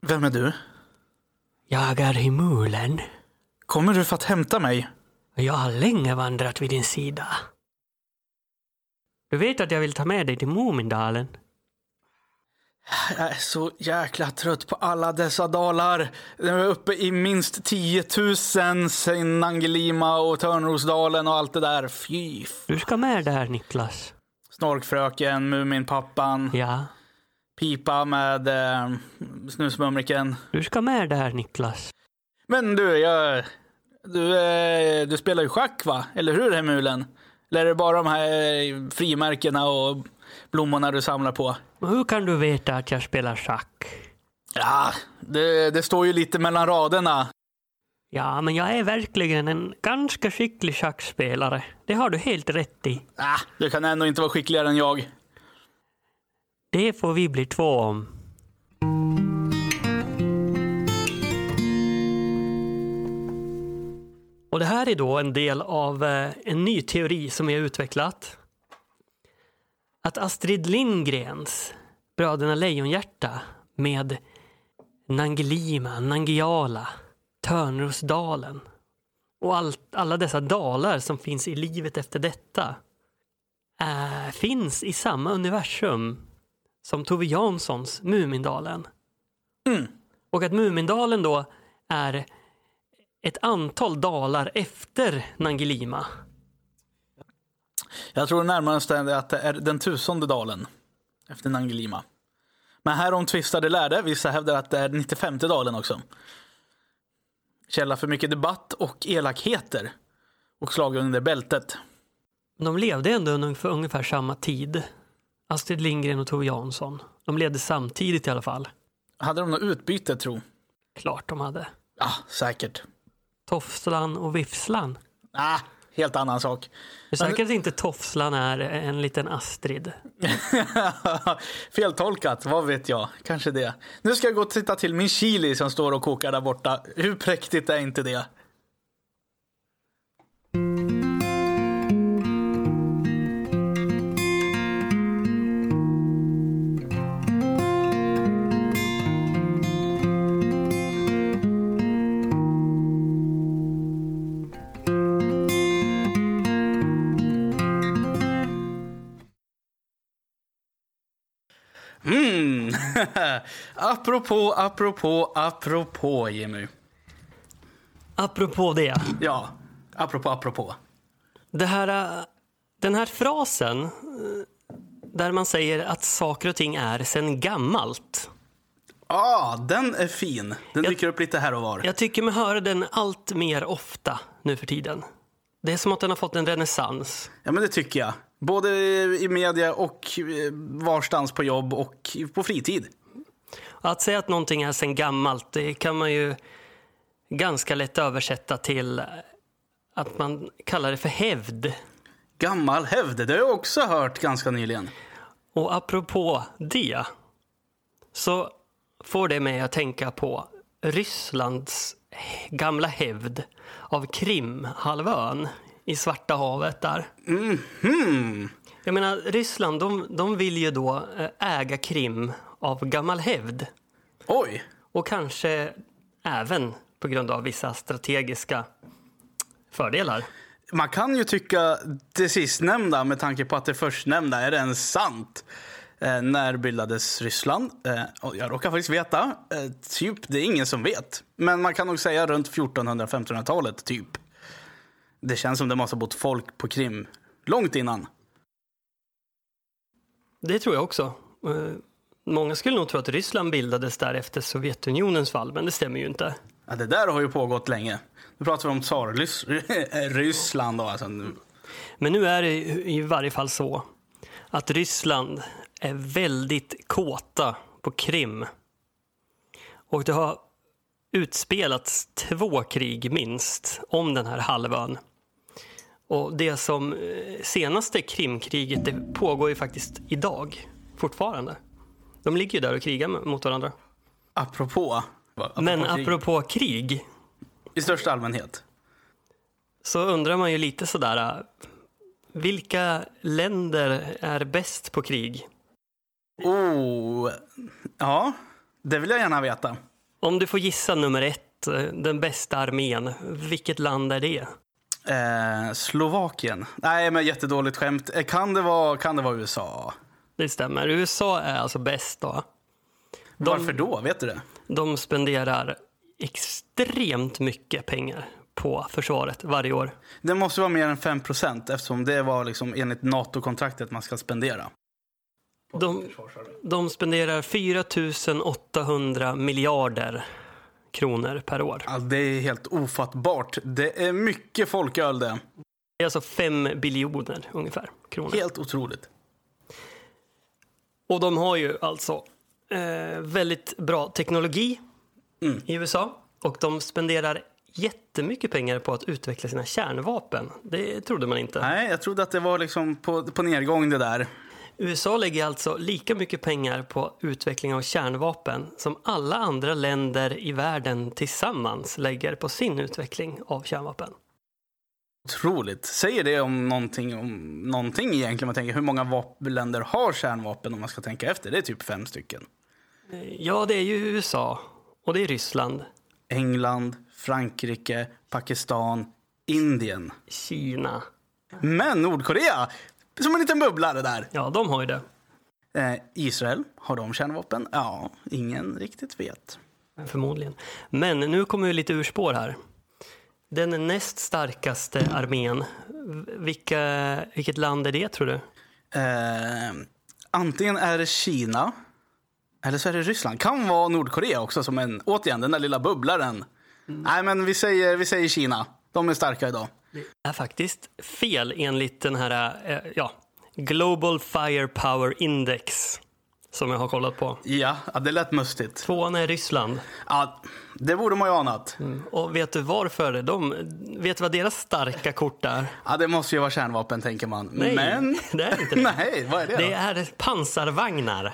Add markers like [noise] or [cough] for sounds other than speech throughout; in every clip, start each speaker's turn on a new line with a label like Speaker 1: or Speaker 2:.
Speaker 1: Vem är du?
Speaker 2: Jag är Himulen.
Speaker 1: Kommer du för att hämta mig?
Speaker 2: Jag har länge vandrat vid din sida. Du vet att jag vill ta med dig till Mumindalen.
Speaker 1: Jag är så jäkla trött på alla dessa dalar. Jag är uppe i minst 10 000 sen Angelima och Törnrosdalen och allt det där. Fy f-
Speaker 2: Du ska med där, Niklas.
Speaker 1: Snorkfröken, Muminpappan,
Speaker 2: Ja,
Speaker 1: Pipa med eh, Snusmumriken.
Speaker 2: du ska med där, Niklas.
Speaker 1: Men du, jag... Du, eh, du spelar ju schack va? Eller hur Hemulen? Eller är det bara de här eh, frimärkena och blommorna du samlar på?
Speaker 2: Men Hur kan du veta att jag spelar schack?
Speaker 1: Ja, det, det står ju lite mellan raderna.
Speaker 2: Ja, men jag är verkligen en ganska skicklig schackspelare. Det har du helt rätt i.
Speaker 1: Ah, du kan ändå inte vara skickligare än jag.
Speaker 2: Det får vi bli två om. Och det här är då en del av eh, en ny teori som vi har utvecklat. Att Astrid Lindgrens Bröderna Lejonhjärta med Nangelima, Nangiala, Törnrosdalen och allt, alla dessa dalar som finns i livet efter detta eh, finns i samma universum som Tove Janssons Mumindalen. Och att Mumindalen då är ett antal dalar efter Nangilima.
Speaker 1: Jag tror närmast är att det är den tusende dalen efter Nangilima. Men härom tvistade lärde. Vissa hävdar att det är 95 dalen också. Källa för mycket debatt och elakheter. Och slag under bältet.
Speaker 2: De levde ändå ungefär, ungefär samma tid. Astrid Lindgren och Tove Jansson. De levde samtidigt i alla fall.
Speaker 1: Hade de något utbyte tro?
Speaker 2: Klart de hade.
Speaker 1: Ja, säkert.
Speaker 2: Tofslan och Vifslan.
Speaker 1: Ah, helt annan sak. [laughs]
Speaker 2: Det är säkert inte Tofslan är en liten Astrid.
Speaker 1: Feltolkat, vad vet jag. Kanske det. Nu ska jag gå och titta till min chili som står och kokar där borta. Hur präktigt är inte det? Mm. [laughs] apropå, apropå, apropå Jimmy.
Speaker 2: Apropå det.
Speaker 1: Ja, apropå, apropå.
Speaker 2: Det här, äh, den här frasen eh, där man säger att saker och ting är sen gammalt.
Speaker 1: ah, den är fin. Den dyker upp lite här och var.
Speaker 2: Jag tycker mig höra den allt mer ofta nu för tiden. Det är som att den har fått en renässans.
Speaker 1: Ja, men det tycker jag. Både i media och eh, varstans på jobb och på fritid.
Speaker 2: Att säga att någonting är sen gammalt det kan man ju ganska lätt översätta till att man kallar det för hävd.
Speaker 1: Gammal hävd, det har jag också hört ganska nyligen.
Speaker 2: Och apropå det så får det mig att tänka på Rysslands gamla hävd av Krimhalvön i Svarta havet där. Jag menar, Ryssland de, de vill ju då eh, äga Krim av gammal hävd
Speaker 1: Oj,
Speaker 2: och kanske även på grund av vissa strategiska fördelar.
Speaker 1: man kan ju tycka det sistnämnda med tanke på att det förstnämnda är ens sant. Eh, när bildades Ryssland? Eh, och jag råkar faktiskt veta. Eh, typ, det är ingen som vet. Men man kan nog säga runt 1400-1500-talet, typ. Det känns som det måste ha bott folk på Krim långt innan.
Speaker 2: Det tror jag också. Eh, Många skulle nog tro att Ryssland bildades där efter Sovjetunionens fall, men det stämmer ju inte.
Speaker 1: Ja, det där har ju pågått länge. Nu pratar vi om [laughs] Tsar-Ryssland. Alltså. nu.
Speaker 2: Men nu är det i i varje fall så att Ryssland är väldigt kåta på Krim. Och det har utspelats två krig minst om den här halvön. Och det som eh, senaste Krimkriget det pågår ju faktiskt idag fortfarande. De ligger ju där och krigar med- mot varandra.
Speaker 1: Apropå. apropå
Speaker 2: Men
Speaker 1: krig
Speaker 2: apropå krig
Speaker 1: I största allmänhet.
Speaker 2: så undrar man ju lite sådär äh, vilka länder är bäst på krig?
Speaker 1: Oh, ja, det vill jag gärna veta.
Speaker 2: Om du får gissa nummer ett, eh, den bästa armén, vilket land är det?
Speaker 1: Eh, Slovakien. Nej, men jättedåligt skämt. Eh, Kan det vara, kan det vara USA?
Speaker 2: Det stämmer. USA är alltså bäst då.
Speaker 1: Varför då? Vet du det?
Speaker 2: De spenderar extremt mycket pengar på försvaret varje år.
Speaker 1: Det måste vara mer än 5 eftersom det var liksom enligt NATO-kontraktet man ska spendera.
Speaker 2: De, de spenderar 4 800 miljarder kronor per år.
Speaker 1: Alltså, det är helt ofattbart. Det är mycket folköl det.
Speaker 2: Det är alltså 5 biljoner ungefär kronor.
Speaker 1: Helt otroligt.
Speaker 2: Och de har ju alltså eh, väldigt bra teknologi i USA och de spenderar jättemycket pengar på att utveckla sina kärnvapen. Det trodde man inte.
Speaker 1: Nej, jag trodde att det var liksom på, på nedgång det där.
Speaker 2: USA lägger alltså lika mycket pengar på utveckling av kärnvapen som alla andra länder i världen tillsammans lägger på sin utveckling av kärnvapen.
Speaker 1: Otroligt. Säger det om någonting, om någonting egentligen? Man tänker hur många vap- länder har kärnvapen om man ska tänka efter? Det är typ fem stycken.
Speaker 2: Eh, Ja, det är ju USA och det är Ryssland,
Speaker 1: England, Frankrike, Pakistan, Indien.
Speaker 2: Kina.
Speaker 1: Men Nordkorea, som en liten bubblare där.
Speaker 2: Ja, de har ju det.
Speaker 1: Eh, Israel, har de kärnvapen? Ja, ingen riktigt vet.
Speaker 2: Förmodligen. Men nu kommer vi lite ur spår här. Den näst starkaste armén, v- vilka, vilket land är det tror du?
Speaker 1: Eh, antingen är det Kina eller så är det Ryssland. Kan vara Nordkorea också, som en, återigen den där lilla bubblaren. Nej, men vi säger, vi säger Kina. De är starka idag.
Speaker 2: är faktiskt fel enligt den här eh, ja, Global Firepower Index som jag har kollat på.
Speaker 1: Ja, ja, det lät mustigt.
Speaker 2: Tvåan är Ryssland. Mm.
Speaker 1: Ja, det borde man ju ha anat.
Speaker 2: Och vet du varför? De, vet du vad deras starka kort är?
Speaker 1: Ja, det måste ju vara kärnvapen, tänker man. Men...
Speaker 2: det är inte det.
Speaker 1: Nej, vad är [laughs] det,
Speaker 2: Det är pansarvagnar.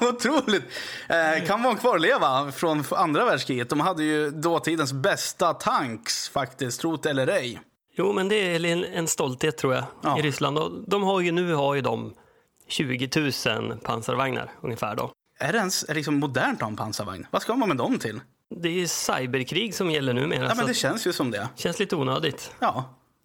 Speaker 1: då? [laughs] Otroligt! Eh, kan vara en kvarleva från f- andra världskriget. De hade ju dåtidens bästa tanks, faktiskt, trot eller ej.
Speaker 2: Jo, men det är en, en stolthet tror jag
Speaker 1: Ja.
Speaker 2: i Ryssland. Och de har ju, nu har ju de 20 000 pansarvagnar ungefär då.
Speaker 1: Är det ens är det liksom modernt att ha en pansarvagn? Vad ska man med dem till?
Speaker 2: Det är ju cyberkrig som gäller numera.
Speaker 1: Ja,
Speaker 2: så
Speaker 1: men det
Speaker 2: att-
Speaker 1: känns ju som det.
Speaker 2: känns lite onödigt.
Speaker 1: Ja,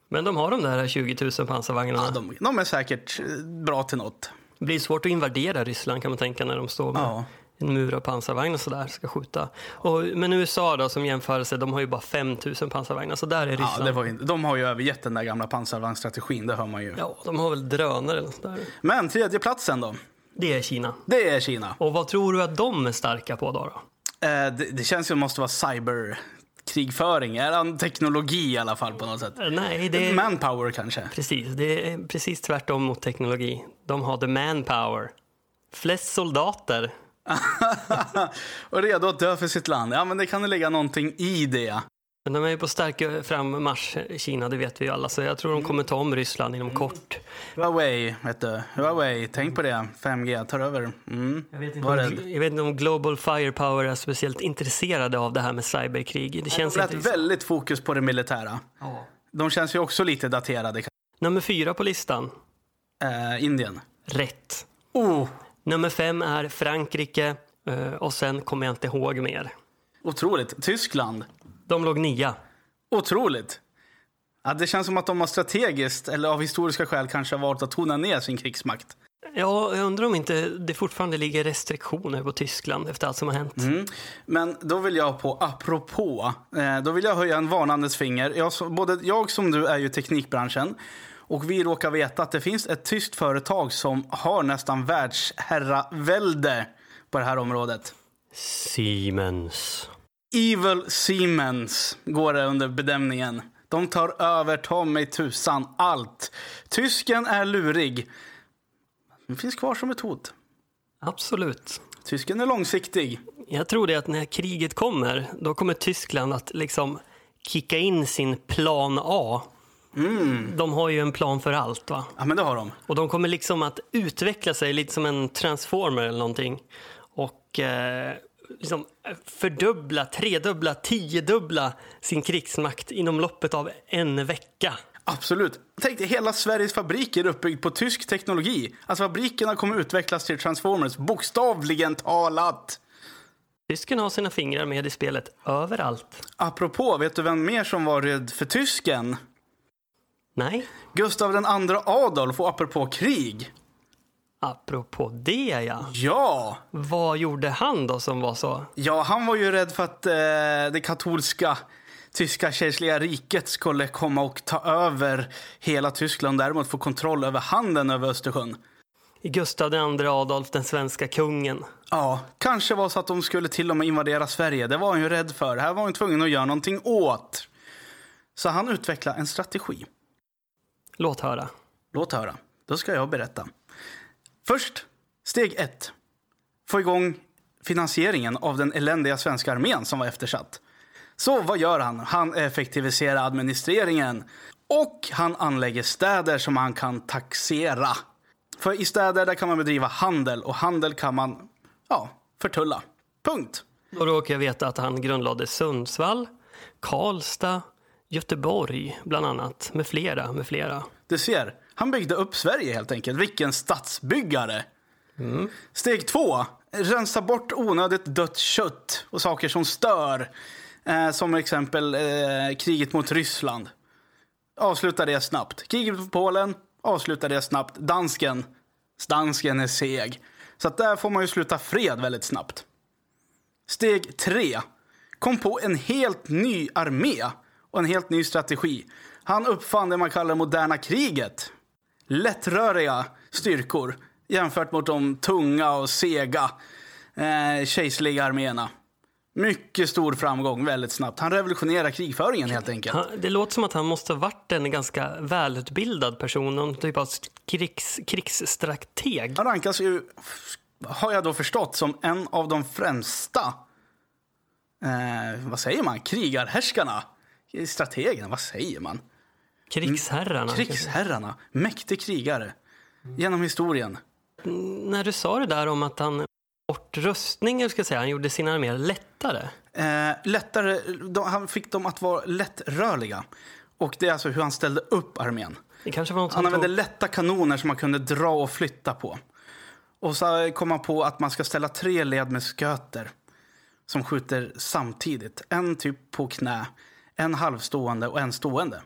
Speaker 2: Men de har de där 20 000 pansarvagnarna.
Speaker 1: ja de, de är säkert eh, bra till något.
Speaker 2: Det blir svårt att invadera Ryssland kan man tänka när de står med
Speaker 1: Ja.
Speaker 2: en mur av pansarvagn och sådär ska skjuta. Och, men USA då som jämförelse, de har ju bara 5000 pansarvagnar så där är Ryssland.
Speaker 1: Ja, det var ju, de har ju övergett den där gamla pansarvagnsstrategin, det hör man ju.
Speaker 2: Ja, de har väl drönare eller sådär.
Speaker 1: Men tredje platsen då?
Speaker 2: Det är Kina.
Speaker 1: Det är Kina.
Speaker 2: Och vad tror du att de är starka på då? då?
Speaker 1: Eh, det, det känns ju det måste vara cyberkrigföring, eller teknologi i alla fall på något sätt.
Speaker 2: Eh, Nej, det är
Speaker 1: Manpower kanske.
Speaker 2: precis, det är precis tvärtom mot teknologi. De har the manpower. Flest soldater.
Speaker 1: [laughs] Och redo att dö för sitt land. Ja, men det kan ju ligga någonting i det.
Speaker 2: Men de är ju på stark frammarsch, Kina, det vet vi ju alla. Så jag tror de kommer ta om Ryssland inom
Speaker 1: Mm.
Speaker 2: kort.
Speaker 1: Huawei, vet du. Huawei, tänk på det. 5G tar över. Mm. Jag vet
Speaker 2: Var det- Jag vet inte om Global Firepower är speciellt intresserade av det här med cyberkrig. Det känns
Speaker 1: De lät
Speaker 2: inte...
Speaker 1: väldigt fokus på det militära.
Speaker 2: Ja.
Speaker 1: De känns ju också lite daterade.
Speaker 2: Nummer fyra på listan.
Speaker 1: Eh, Indien.
Speaker 2: Rätt.
Speaker 1: Oh,
Speaker 2: Nummer fem är Frankrike eh, och sen kommer jag inte ihåg mer.
Speaker 1: otroligt. Tyskland.
Speaker 2: De låg nia.
Speaker 1: Otroligt. Ja, det känns som att de har strategiskt, eller av historiska skäl, kanske har valt att tona ner sin krigsmakt.
Speaker 2: Ja, jag undrar om inte det fortfarande ligger restriktioner på Tyskland efter allt som har hänt.
Speaker 1: Mm. Men då vill jag på, apropå, eh, då vill jag höja en varnandes finger. Jag, som- både jag som du är ju i teknikbranschen och vi råkar veta att det finns ett tyskt företag som har nästan världsherravälde på det här området.
Speaker 2: Siemens.
Speaker 1: Evil Siemens går det under bedömningen. De tar över ta mig tusan allt. Tysken är lurig. Den finns kvar som ett hot.
Speaker 2: Absolut.
Speaker 1: Tysken är långsiktig.
Speaker 2: Jag tror det att när kriget kommer, då kommer Tyskland att liksom kicka in sin plan A. De har ju en plan för allt va?
Speaker 1: Ja, men det har de.
Speaker 2: Och de kommer liksom att utveckla sig lite som en transformer eller någonting. Och eh, liksom fördubbla, tredubbla, tiodubbla sin krigsmakt inom loppet av en vecka.
Speaker 1: Absolut. Tänk dig, hela Sveriges fabriker är uppbyggd på tysk teknologi. Alltså fabrikerna kommer utvecklas till Transformers, bokstavligen talat.
Speaker 2: Tysken har sina fingrar med i spelet överallt.
Speaker 1: Apropå, vet du vem mer som var rädd för tysken?
Speaker 2: Nej,
Speaker 1: Gustav den andra Adolf och apropå krig.
Speaker 2: apropå det ja.
Speaker 1: Ja,
Speaker 2: Vad gjorde han då som var så?
Speaker 1: ja han var ju rädd för att eh, det katolska tyska kejserliga riket skulle komma och ta över hela Tyskland och däremot få kontroll över handeln över Östersjön.
Speaker 2: Gustav II Adolf, den svenska kungen.
Speaker 1: Ja, kanske var så att de skulle till och med invadera Sverige. Det var han ju rädd för. Det här var han tvungen att göra någonting åt. Så han utvecklade en strategi.
Speaker 2: Låt höra.
Speaker 1: Låt höra. Då ska jag berätta. Först, steg ett. Få igång finansieringen av den eländiga svenska armén som var eftersatt. Så vad gör han? Han effektiviserar administreringen och han anlägger städer som han kan taxera. För i städer där kan man bedriva handel och handel kan man, ja, förtulla. Punkt.
Speaker 2: Då råkar jag veta att han grundlade Sundsvall, Karlstad, Göteborg bland annat, med flera, med flera.
Speaker 1: Du ser, han byggde upp Sverige helt enkelt. Vilken stadsbyggare! Steg två, rensa bort onödigt dött kött och saker som stör. Eh, som exempel eh, kriget mot Ryssland. Avsluta det snabbt. Kriget mot Polen, avsluta det snabbt. Dansken, dansken är seg. Så att där får man ju sluta fred väldigt snabbt. Steg tre. Kom på en helt ny armé och en helt ny strategi. Han uppfann det man kallar moderna kriget. Lättröriga styrkor jämfört mot de tunga och sega eh, kejserliga arméerna. Mycket stor framgång väldigt snabbt. Han revolutionerar krigföringen helt enkelt.
Speaker 2: Han, det låter som att han måste ha varit en ganska välutbildad person, någon typ av krigs, krigsstrateg.
Speaker 1: Han rankas ju, har jag då förstått, som en av de främsta, eh, vad säger man, krigarhärskarna? Strategerna, vad säger man?
Speaker 2: Krigsherrarna.
Speaker 1: Krigsherrarna, mäktig krigare genom historien.
Speaker 2: När du sa det där om att han bort röstning, eller ska jag säga, han gjorde sina arméer lättare.
Speaker 1: Eh, lättare, de, han fick dem att vara lättrörliga. Och det är alltså hur han ställde upp armén.
Speaker 2: Det kanske var något
Speaker 1: Han
Speaker 2: som
Speaker 1: använde
Speaker 2: tog...
Speaker 1: lätta kanoner som man kunde dra och flytta på. Och så kom han på att man ska ställa tre led med sköter som skjuter samtidigt. En typ på knä, en halvstående och en stående.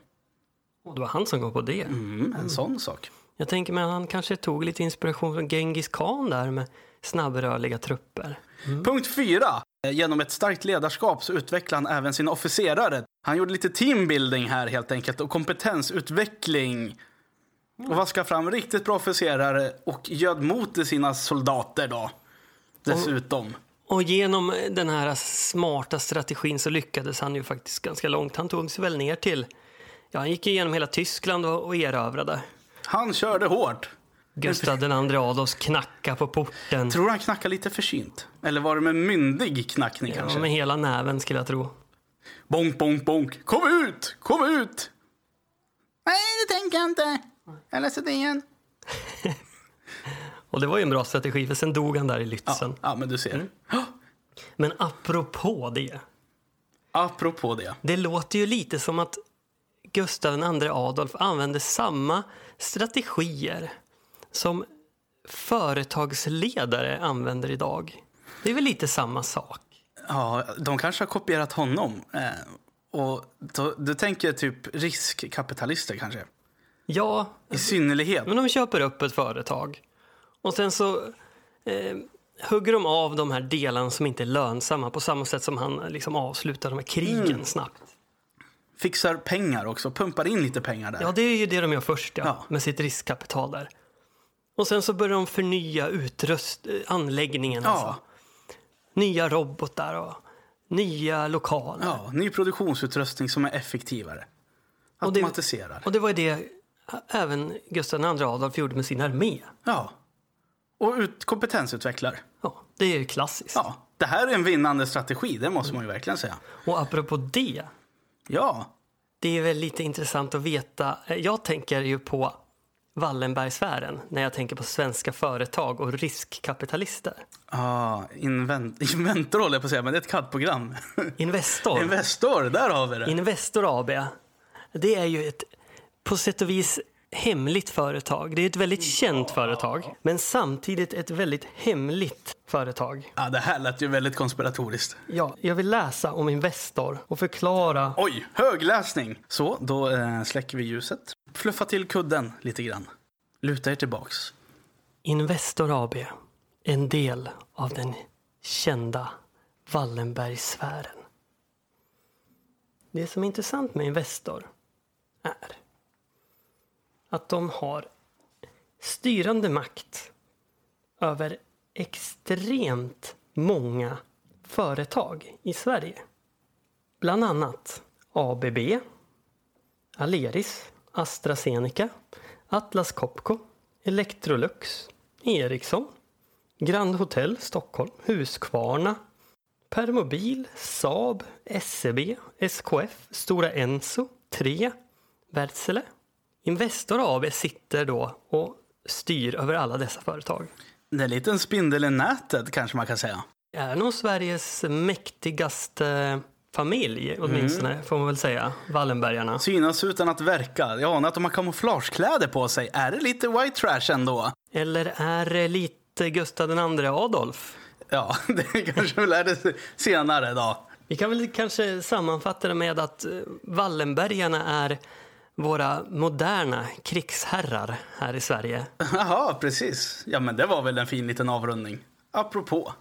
Speaker 2: Det var han som kom på det.
Speaker 1: Mm, en sån sak.
Speaker 2: Jag tänker mig att han kanske tog lite inspiration från Genghis khan där med snabbrörliga trupper.
Speaker 1: Punkt fyra. Eh, Genom ett starkt ledarskap så utvecklade han även sina officerare. Han gjorde lite teambuilding här helt enkelt och kompetensutveckling. Och vaskade fram riktigt bra officerare och göd mot i sina soldater då. Dessutom.
Speaker 2: Och genom den här smarta strategin så lyckades han ju faktiskt ganska långt. Han tog sig väl ner till, ja han gick igenom hela Tyskland och och erövrade.
Speaker 1: Han körde hårt.
Speaker 2: Gustav II Adolfs knacka på porten.
Speaker 1: Tror du han knackade lite försynt? Eller var det med myndig knackning
Speaker 2: Ja,
Speaker 1: kanske?
Speaker 2: med hela näven skulle jag tro.
Speaker 1: Bonk, bonk, bonk. Kom ut! Kom ut! Nej, det tänker jag inte. Jag läser det igen.
Speaker 2: Och det var ju en bra strategi för sen Mm. dog han där i Lützen.
Speaker 1: Ja, ja men du ser.
Speaker 2: Men apropå det.
Speaker 1: [gasps] Apropå det.
Speaker 2: Det låter ju lite som att Gustav II Adolf använde samma strategier som företagsledare använder idag. Det är väl lite samma sak?
Speaker 1: Ja, de kanske har kopierat honom. Eh, och då, du tänker typ riskkapitalister kanske?
Speaker 2: Ja,
Speaker 1: I synnerhet.
Speaker 2: men de köper upp ett företag och sen så eh, hugger de av de här delarna som inte är lönsamma på samma sätt som han liksom avslutar de här krigen snabbt.
Speaker 1: Fixar pengar också. Pumpar in lite pengar där.
Speaker 2: Ja, det är ju det de gör först ja,
Speaker 1: Ja.
Speaker 2: med sitt riskkapital där. Och sen så börjar de förnya utrust, eh, anläggningen. Alltså.
Speaker 1: ja,
Speaker 2: nya robotar och nya lokaler.
Speaker 1: ja. Ny produktionsutrustning som är effektivare.
Speaker 2: det-
Speaker 1: Automatiserar.
Speaker 2: Och det var ju det även Gustav II Adolf gjorde med sin armé.
Speaker 1: Ja. Och ut, kompetensutvecklar.
Speaker 2: Ja, det är ju klassiskt.
Speaker 1: Ja, det här är en vinnande strategi, det måste man ju verkligen säga.
Speaker 2: Och apropå det,
Speaker 1: Ja,
Speaker 2: det är väl lite intressant att veta. eh, Jag tänker ju på Wallenbergsfären när jag tänker på svenska företag och riskkapitalister.
Speaker 1: ah, invent [laughs] Inventor håller jag på att säga, men det är ett [laughs] CAD-program.
Speaker 2: Investor.
Speaker 1: Investor, där har vi det.
Speaker 2: Investor AB, det är ju ett, på sätt och vis hemligt företag. Det är ett väldigt känt företag, men samtidigt ett väldigt hemligt företag.
Speaker 1: Ja, det här lät ju väldigt konspiratoriskt.
Speaker 2: Ja, jag vill läsa om Investor och förklara.
Speaker 1: Oj, högläsning! Så, då eh, släcker vi ljuset. Fluffa till kudden lite grann. Luta er tillbaks.
Speaker 2: Investor AB, en del av den kända Wallenbergsfären. Det som är intressant med Investor är att de har styrande makt över extremt många företag i Sverige. Bland annat ABB, Aleris, AstraZeneca, Atlas Copco, Electrolux, Ericsson, Grand Hotel Stockholm, Husqvarna, Permobil, Saab, E SEB, SKF, Stora Enso, 3, Wärtsilä. Investor AB sitter då och styr över alla dessa företag.
Speaker 1: Det är en liten spindel i nätet kanske man kan säga.
Speaker 2: Är nog Sveriges mäktigaste familj åtminstone, får man väl säga, Wallenbergarna.
Speaker 1: Synas utan att verka. Jag anar att de har kamouflagekläder på sig. Är det lite white trash ändå?
Speaker 2: Eller är det lite Gustav II Adolf?
Speaker 1: Ja, [laughs] det kanske väl är det senare då.
Speaker 2: Vi kan väl kanske sammanfatta det med att eh, Wallenbergarna är våra moderna krigsherrar här i Sverige.
Speaker 1: Jaha, precis. Ja, men det var väl en fin liten avrundning. Apropå.